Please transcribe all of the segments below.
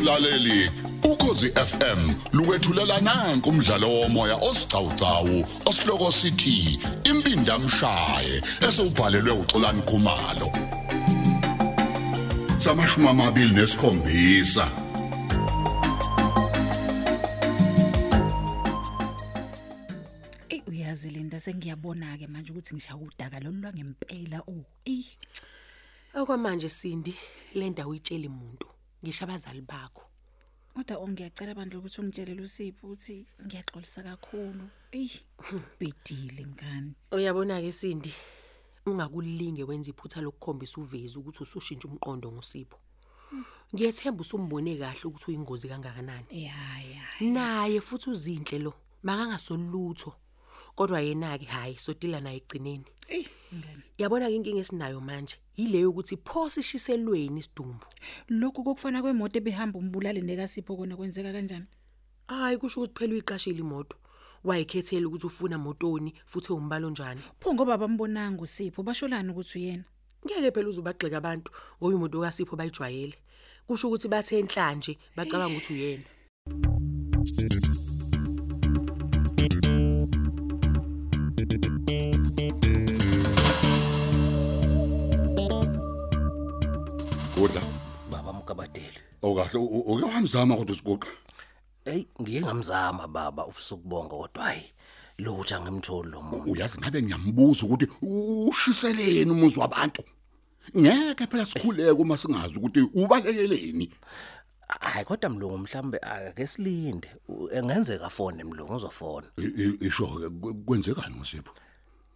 mlaleli ukhosi FM lukwethulela nanku umdlalo womoya osiqhawqhawo osihloko sithi impindi amshaye esubhalelwe uXolani Khumalo samashumi amabili nesikhombisa Ey uyazi Linda sengiyabona ke manje ukuthi ngishaya udaka lolu lwangempela oh ey Okwamanje Sindi, le ndawo uyitshela umuntu, ngisho abazali bakho. kodwa ongiyacela bandla ukuthi ungitshele uSipho ukuthi ngiyaxolisa kakhulu ey bedile ngani Uyabona ke Sindi, ungakulinge wenza iphutha lokukhombisa uvezi ukuthi usushintsha umqondo ngosipho. Ngiyethemba usumbone kahle ukuthi uyingozi kangakanani. ya ya Naye futhi uzinhle lo, makangasolutho. Kodwa yena ke hayi, sodila naye egcineni. ey ngani Yabona ke inkinga esinayo manje, ile yokuthi pho sishiselweni isidumbu. lokho kokufana kwemoto ebehamba umbulale nekaSipho kona kwenzeka kanjani Hayi kusho ukuthi phela uyiqashile imoto. Wayikhethela ukuthi ufuna motoni futhi umbalo njani. pho ngoba bambonanga uSipho basholana ukuthi uyena ngeke phela uzubagxeka abantu ngoba imoto kaSipho bayijwayele kusho ukuthi bathe enhlanje bacabanga ukuthi uyena kodwa baba mkabadele okahle ukuhamzama kodwa siguqa hey ngiye ngamzama baba ubusukubonga kodwa hayi lutha ngimtholi lo muntu uyazi ngabe ngiyambuza ukuthi ushiseleni umuzi wabantu ngeke phela sikhuleke uma singazi ukuthi ubalekeleni hayi kodwa mlungu mhlambe ake silinde U- engenzeka fone mlungu uzofona I- i- isho ke kwe- kwenzekani ngosipho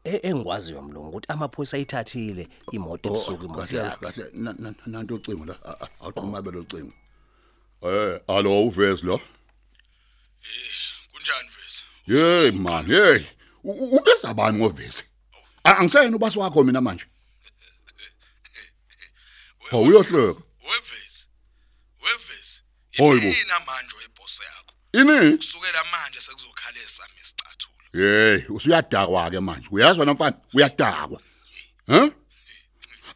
E- engikwaziyo mlungu ukuthi amaphoyisa ayithathile imoto ebusuku imoto kahle yakhe kahle na- na- nanto ucingo la A- a- awuthuma belo ucingo eh alo uvesi lo Kunjani Vesa? hey man hey U- u- ubeza abantu ngovesi A- angisayena ubasi wakho mina manje We- Hawu, uyohleka. Wevesi. Wevesi. Hoyibo. Yina manje oyibhosi yakho. ini Kusukela manje sekuzokhalesa misicathulo. hey usuyadakwa ke manje uyazwa namfana uyadakwa huh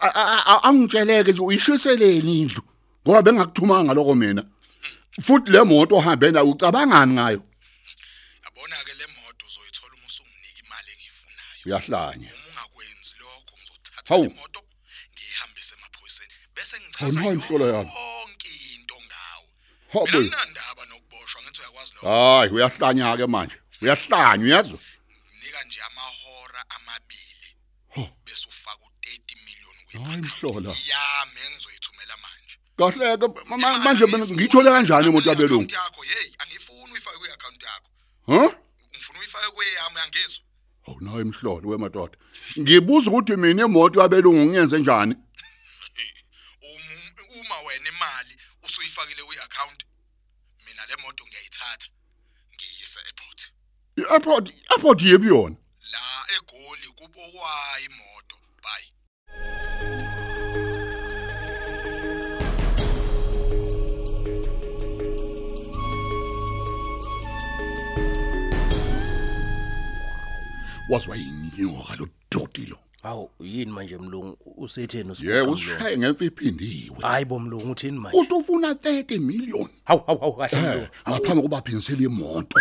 A- a- a- angitsheleke nje uyishiseleni indlu ngoba bengakuthumanga lokho mina futhi le moto ohambe nayo ucabangani ngayo Yabona ke le moto uzoyithola uma usunginika imali engiyifunayo. uyahlanya Uma ungakwenzi lokho ngizothatha Hawu. le moto ngiyihambise emaphoyiseni bese Hawu, nayi imhlola yami. yonke into ngawo. Hawu, Mina boy. nginandaba nokuboshwa ngithi uyakwazi lokho. hayi uyahlanya ke manje uyahlanya uyazwa Nika nje amahora amabili Ho. bese ufaka u30 million hayi kwi mhlola yami engizoyithumela manje. kahle ke ma- ma- manje mina ngiyithole kanjani imoto yabelungu yakho hey angifuni uyifake kwi-account yakho huh ngifuna uyifake kweyami angezwe awu nawe imhlolo wemadoda ngibuza ukuthi mina imoto yabelungu ngiyenze njani Um- uma wena imali usuyifakile kwi-account mina le moto ngiyayithatha ngiyise airport i-airport i-airport yephi yona la egoli kubo kwayo imoto bye wazwa yinyoka lo dodi lo hawu yini manje mlungu usetheni ye usibuka mlungu ushaye ngemfa iphindiwe hayi bo mlungu uthini manje uthi ufuna 30 million hawu hawu hawu kahle eh mlungu ngaphambi kokuba aphinisele imoto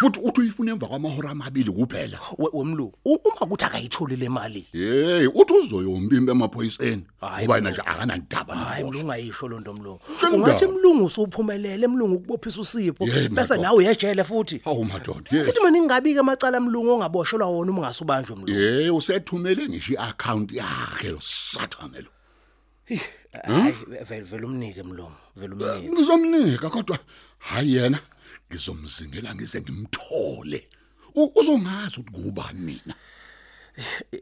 futhi uthi uyifuna emva kwamahora amabili kuphela We- wemlungu u- uma kuthi akayitholi le mali hey uthi uzoyombimba emaphoyiseni Hayi, ngoba yena mlungu. nje akanandaba hayi nayo mlungu ayisho loo nto mlungu Shendaba. ungathi mlungu usuphumelele mlungu ukubophisa usipho Yey, bese madoda. nawe uyejele futhi hawu madoda ye futhi mina ngingabi-ke amacala mlungu ongaboshelwa wona uma ngasubanjwe mlungu ye usethumele ngisho i-account yakhe lo sathane lo hayi ve- ve- vele umnike mlungu vele umnike ngizomnika kodwa hayi yena ngizomzingela ngize ngimthole U- uzongazi ukuthi kuba mina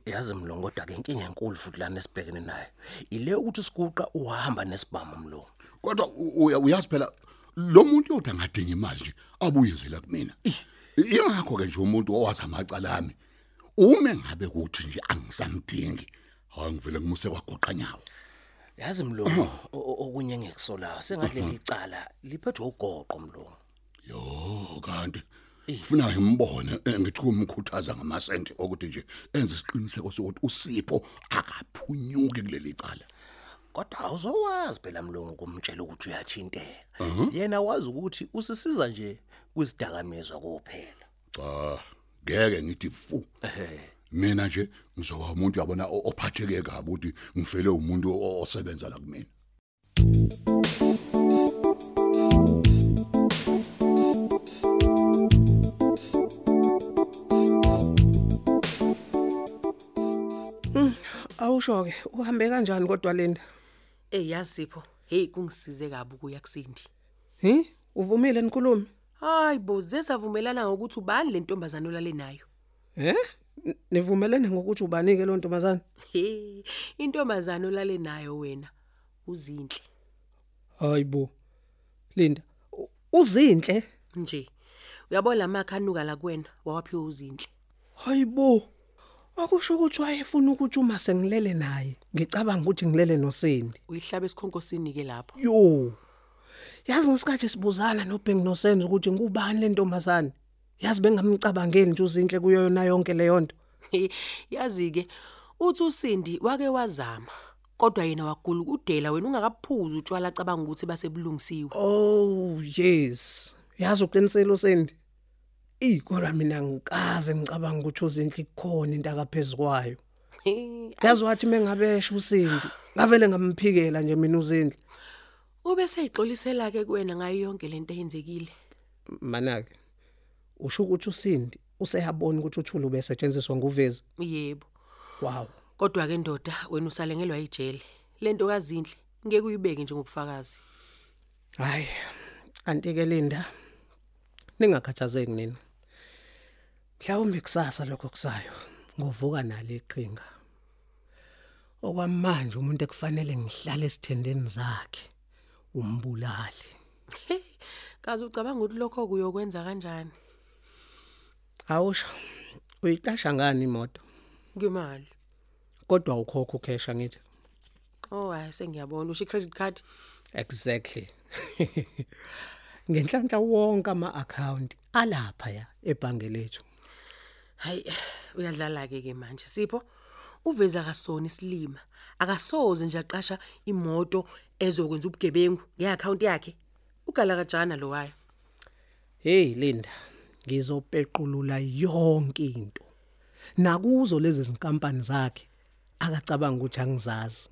yazi mlungu kodwa-ke inkinga enkulu futhi lana esibhekene nayo ile ukuthi siguqa uhamba nesibhamu mlungu kodwa u- uya- uyazi phela lo muntu yodwa ngadinga imali nje abuyezela kumina ingakho ke nje umuntu owathi amacala ami uma ngabe kuthi nje angisamdingi hayi ngivele ngimuse kwagoqa nyawo yazi mlungu o- o- okunye engekusolayo sengaleli icala liphethwe ugoqo mlungu yo kanti ufuna ngimbone eh, ngithi kumkhuthaza ngamasenti okuthi nje enze isiqiniseko sokuthi usipho akaphunyuki kuleli cala kodwa awuzowazi phela mlungu kumtshela ukuthi uyathinteka yena wazi ukuthi usisiza nje kwizidakamizwa kuphela cha ngeke ngithi fu ehe mina nje ngizoba umuntu yabona o- ophatheke kabi ukuthi ngifele umuntu o- osebenza la kumina awusho-ke uhambe kanjani kodwa linda Ey yazipho, hey kungisize kabi ukuya kusindi. hi uvumile nikhulume Hayi bo, zesavumelana ngokuthi ubani le ntombazana olale nayo. eh N- nivumelene ngokuthi ubanike loo ntombazane He, intombazana olale nayo wena uzinhle hayi bo linda u- uzinhle nje. Uyabona lamakha anuka la kuwena wawaphiwa uzinhle. hayi bo akusho ukuthi wayefuna ukuthi uma sengilele naye ngicabanga ukuthi ngilele nosindi Uyihlaba esikhonkosini ke lapho. yo yazi ngesikhathi sibuzana nobhengi nosenzo ukuthi ngubani le ntombazane yazi bengamcabangeli nje uzinhle kuyo yona yonke leyo nto He, Yazi ke uthi uSindi wake wazama. Kodwa yena wagula udela wena ungakaphuzi utshwala cabanga ukuthi basebulungisiwe. Oh yes. Yazi uqinisele usendi. Ikora mina ngikaze ngicabanga ukuthi uzinhle ikhona into akaphezukwayo. He, Yazi wathi mengabesha usendi. Ngavele ngamphikela nje mina uzinhle. Ube seyixolisela ke kuwena ngayo yonke lento eyenzekile. Manake. Usho ukuthi usindi useyabona ukuthi uthule ubesetshenziswa nguvezi. Yebo. Wow. Kodwa ke ndoda wena usalengelwa ijele. Lento kazinhle ngeke uyibeke njengobufakazi. Hayi. Antike Linda. Ningakhathazeki nina. Mhlawumbe kusasa lokho kusayo. Ngovuka nalo iqhinga. Okwamanje umuntu ekufanele ngihlale esithendeni zakhe umbulali. Kaze ucabanga ukuthi lokho kuyokwenza kanjani? Awusho. Uyiqasha ngani imoto? Ngimali. Kodwa ukhokha ukhesha ngithi. Oh hayi sengiyabona usho i-credit card. Exactly. Ngenhlanhla wonke ama account alapha ya ebhange lethu. Hayi uyadlala ke ke manje Sipho. Uveza kasona isilima. Akasoze nje aqasha imoto ezokwenza ubugebengu ngeaccount yakhe. Ugala kajana lo wayo. Hey Linda, ngizopequlula yonke into. Nakuzo lezi zinkampani zakhe akacabanga ukuthi angizazi.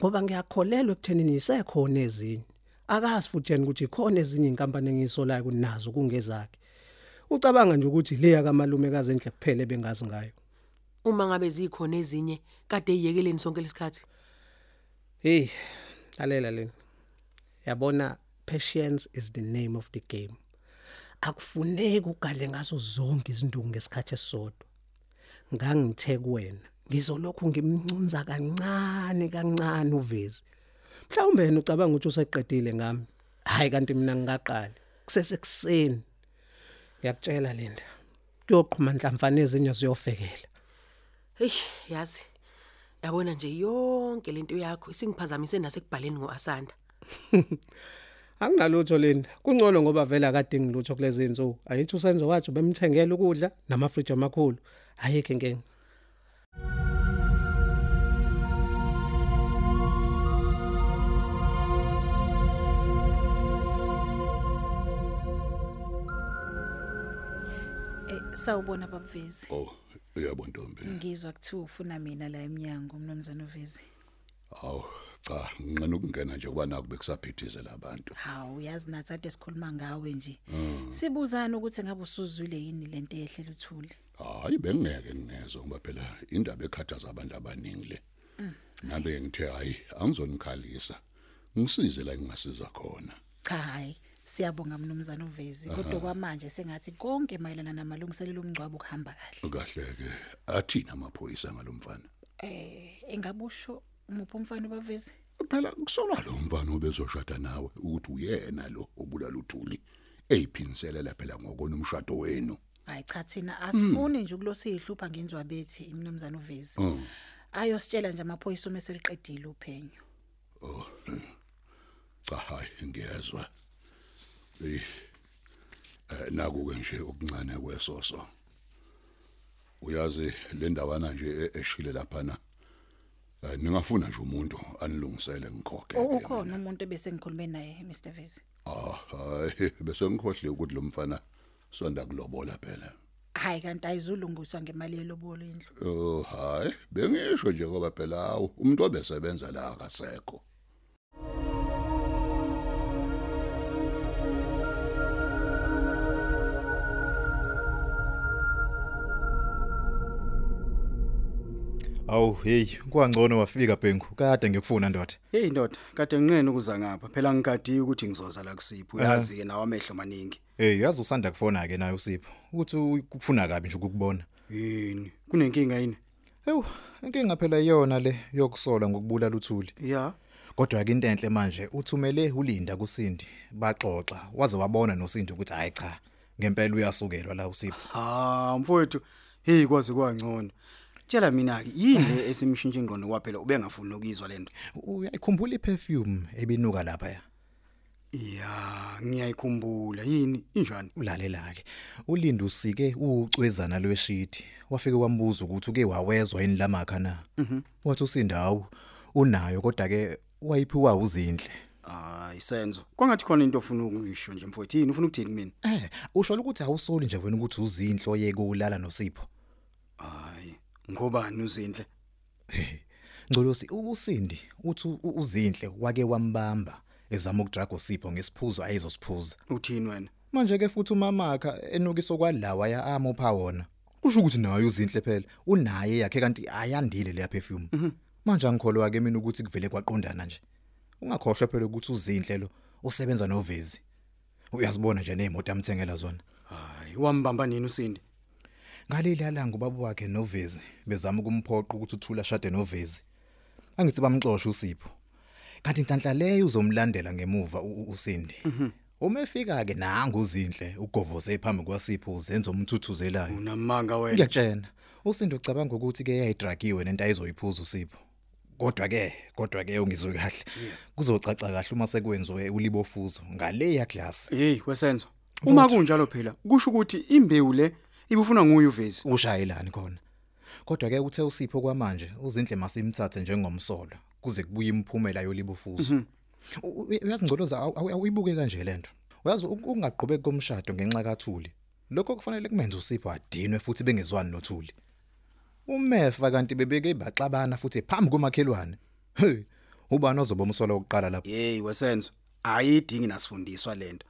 Ngoba ngiyakholelwa ekuthenini isekhona ezinye. Akazi futhi yena ukuthi khona ezinye inkampani engisolayo kunazo kungezakhe. Ucabanga nje ukuthi leya kamalumekazi enhle kuphele bengazi ngayo. Uma ngabe zikhona ezinye kade iyekeleni sonke lesikhathi. Hey, lalela lena. Yabona patience is the name of the game. Akufuneki ugadle ngaso zonke izindungu ngesikhathi esisodwa. Ngangithe kuwena, ngizolokhu ngimncunza kancane kancane uvezi. Mhlawumbe yena ucabanga ukuthi useqedile ngami. Hayi kanti mina ngingaqali. Kusese kuseni. Ngiyakutshela Linda. Kuyoqhuma inhlamvane ezinye ziyofekela. Hey, yazi. Yabona nje yonke lento yakho isingiphazamise nasekubhaleni ngoAsanda. Anginalutho Linda. Kungcono ngoba vele akade ngilutho kulezi insuku. Ayithi usenzo wathi bemthengele ukudla namafriji amakhulu. Ayike ngeke. Eh, sawubona babuvezi. oh yebo ntombi Ngizwa kuthiwa ufuna mina la eminyango mnumzane uvezi. aw cha nginqena ukungena nje kuba naku bekusaphithize labantu Hawu yazi nathi ade sikhuluma ngawe nje. Sibuzana ukuthi ngabe usuzwile yini lento ehlela uthule. hayi bengeke nginezo ngoba phela indaba ekhathaza abantu abaningi le nabe ngithe hayi angizonikhalisa ngisize la engingasiza khona Cha hayi. Siyabonga mnumzane uvezi kodwa kwamanje sengathi konke mayelana namalungiselelo omngcwabo kuhamba kahle. kahle ke athina amaphoyisa ngalomfana Eh engabusho umuphi umfana babuvezi? phela kusolwa lo mfana obezoshada nawe ukuthi uyena lo obulala uthuli eyiphinselela phela ngokona umshado wenu Hayi cha thina asifuni nje ukulosa ihlupha ngenziwa bethi imnumzane uvezi. Ayositshela nje amaphoyisa uma seliqedile uphenyo. cha hayi ngiyezwa eh eh, naku ke nje okuncane kwesoso uyazi le ndawana nje e- eshile lapha na Eh, ningafuna nje umuntu anilungisele ngikhokhe Ukhona umuntu ebese ngikhulume naye Mr Vezi. ah hayi bese ngikhohle ukuthi lo mfana sonda kulobola phela Hayi kanti ayizulungiswa ngemali yelobolo indlu. oh hayi bengisho nje ngoba phela awu umuntu obesebenza la akasekho Awu hey, kwangcono wafika Bengu. Kade ngikufuna ndoda. Hey ndoda, kade nginqene ukuza ngapha. Phela ngigadiwe ukuthi ngizoza la kusipho. Uyazi ke nawe amehlo maningi. Hey, uyazi usanda kufona ke naye uSipho. Ukuthi ukufuna kabi nje ukukubona. Yini? Kunenkinga yini? Ewu, inkinga phela iyona le yokusola ngokubulala uthuli. Ya. Kodwa ke into enhle manje uthumele uLinda kuSindi baxoxa. Waze wabona noSindi ukuthi hayi cha, ngempela uyasukelwa la uSipho. Ah, mfowethu. Hey kwazi kwangcono. Tshela mina ke yini le esimshintsha ingqondo kwaphela ubengafuni ukizwa lento. Uyayikhumbula iperfume ebinuka lapha ya. Ya, ngiyayikhumbula. Yini? Injani? Ulalela ke. uLinda usike ucwezana lweshidi. Wafike wambuza ukuthi uke wawezwa yini lamakha na. Wathi uSindi hawu unayo kodwa ke wayiphiwa uzindle. Hayi senzo. Ah, Kwangathi khona into ofuna ukuyisho nje mfowethu. Yini ufuna ukuthini mina? Eh, usho ukuthi awusoli nje wena ukuthi uzinhlo yekulala noSipho. Hayi. Ngobani uzinhle? Ngcolosi ukusindi uthi u- uzinhle wake wambamba ezama ukudrago Sipho ngesiphuzo ayizosiphuza. Uthini wena? Manje ke futhi umamakha enukiso kwalawa yaamo pha wona. Kusho ukuthi nayo uzinhle phela unaye yakhe kanti ayandile le perfume. Mhm. Manje angikholwa ke mina ukuthi kuvele kwaqondana nje. Ungakhohlwa phela ukuthi uzinhle lo usebenza novezi. Uyazibona nje nezimoto amthengela zona. Hayi, wambamba nini usindi? Ngalilalanga ubaba wakhe noVezi bezama ukumphoqa ukuthi uthula shade noVezi. Angithi bamxoshwe uSipho. Kanti inhlanhla leyo uzomlandela ngemuva u- u- uSindi. Mhm. Uma efika ke nanga uzinhle ugovoze phambi kwaSipho uzenza umthuthuzelayo. Unamanga wena. Ngiyakutshena. USindi ucabanga ukuthi ke yayidragiwe nento ayizoyiphuza uSipho. Kodwa ke, kodwa ke ungizwe kahle. Kuzocaca kahle uma sekwenziwe ulibofuzo ngale ya class. Hey, wesenzo. Uma kunjalo phela, kusho ukuthi imbewu le ibufuna nguye uvezi. ushayelani khona kodwa ke uthe usipho kwamanje uzindle masimthathe njengomsolo kuze kubuye imphumela yolibufuzo U- u- uyazingcoloza awu- awu- awuyibuke kanje lento uyazi uk- ukungaqhubeki komshado ngenxa kathuli lokho kufanele kumenze usipho adinwe futhi bengezwani nothuli umefa kanti bebeke baxabana futhi phambi komakhelwane hey ubani ozoba umsolo oqala lapho Hey, wesenzo. Ayidingi nasifundiswa lento.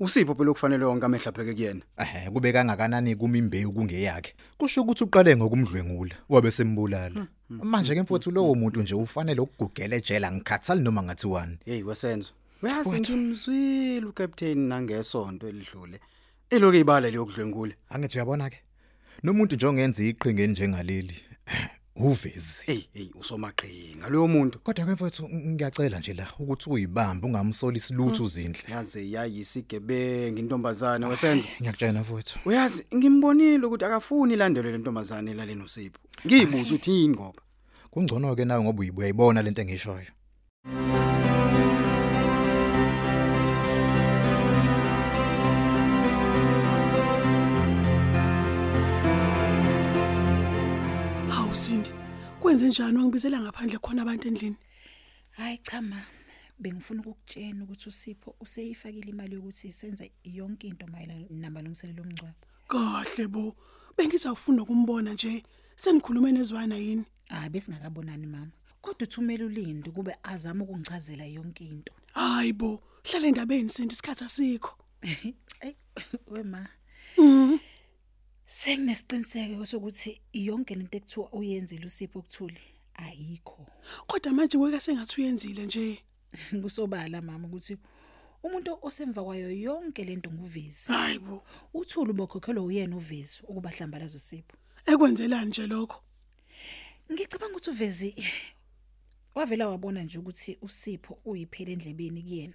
Usipho phela okufanele wonke amehla pheke kuyena. ehe kube kangakanani kuma imbewu kungeyakhe kusho ukuthi uqale ngokumdlwengula wabe sembulala Mm-hmm. manje ke mfowethu lowo muntu nje ufanele ukugugela ejela ngikhathali noma ngathi wani Hey, wesenzo. Uyazi ngimzwile uCaptain nangesonto elidlule. Eloke ibala leyokudlwengula. angithi uyabona ke nomuntu nje ongenza iqhinge njengaleli uvezi Hey, hey, usomaqhinga lowo muntu. kodwa ke mfowethu ngiyacela nje la ukuthi uyibambe ungamsoli isiluthu Mm. uzindle Yaze yayisigebenga intombazana wesenzo. ngiyakutshela mfowethu Uyazi ngimbonile ukuthi akafuni ilandelwe le ntombazana elaleni usipho. Ngiyibuza uthi yini ngoba. kungcono ke nawe ngoba uyibuya uyibona lento engishoyo Hawu Sindi, kwenze njani wangibizela ngaphandle khona abantu endlini? Hayi cha ma. Bengifuna ukukutshena ukuthi uSipho useyifakile imali yokuthi senze yonke into mayelana namalungiselelo omncwawo. Kahle bo. Bengizawufuna ukumbona nje. Senikhulume nezwana yini? Ah besingakabonani mama. Kodwa uthumela uLindi kube azama ukungichazela yonke into. Hayi bo. Hlale endabeni sindi isikhathi asikho. Ey wema. Mhm. Senginesiqiniseko sokuthi yonke lento ekuthiwa uyenzile uSipho kuthuli ayikho. Kodwa manje weka sengathi uyenzile nje. Kusobala mama ukuthi umuntu osemva kwayo yonke lento nguvezi. Hayi bo. Uthuli bokhokhelwe uyena uvezi ukuba hlambalazo Sipho. Ekwenzelani nje lokho? Ngicabanga ukuthi uvezi wavela wabona nje ukuthi uSipho uyiphele endlebeni kuyena.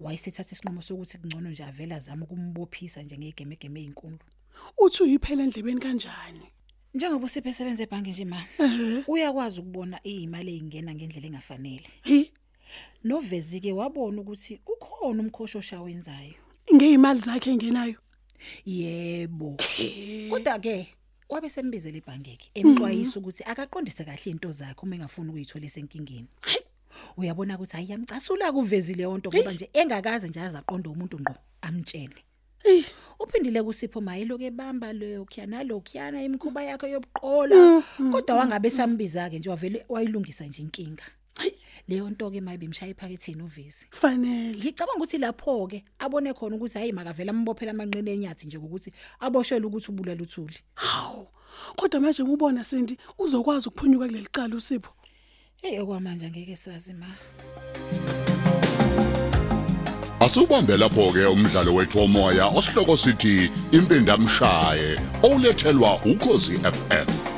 Wayesethatha isinqumo sokuthi kungcono nje avela zama ukumbophisa nje ngegemegeme ezinkulu. Uthi uyiphela endlebeni kanjani? Njengoba uSipho esebenza ebhange nje mama, uyakwazi ukubona izimali ezingena ngendlela engafanele. Hi. Novezi ke wabona ukuthi ukhona umkhosho wenzayo. Ngeimali zakhe engenayo. Yebo. Kodwa ke wabe sembizela ibhankeki emxwayisa ukuthi akaqondise kahle into zakhe uma engafuni ukuyithola esenkingeni uyabona ukuthi ayiyamcasula kuvezile yonto ngoba nje engakaze nje azaqonda umuntu ngqo amtshele uphindile kusipho mayelo ke bamba leyo khiyana lokhiyana imkhuba yakhe yobuqola kodwa wangabe sambiza ke nje wavele wayilungisa nje inkinga leyo nto ke mayibe imshaya ephaketheni uvezi fanele ngicabanga ukuthi lapho ke abone khona ukuthi hayi makavela ambophela amanqine enyathi nje ukuthi aboshwele ukuthi ubulala uthuli hawu kodwa manje ngubona sindi uzokwazi ukuphunyuka kuleli cala usipho hey okwamanje angeke sazi ma Asubambe lapho ke umdlalo wethu omoya osihloko sithi impindamshaye olethelwa ukozi FM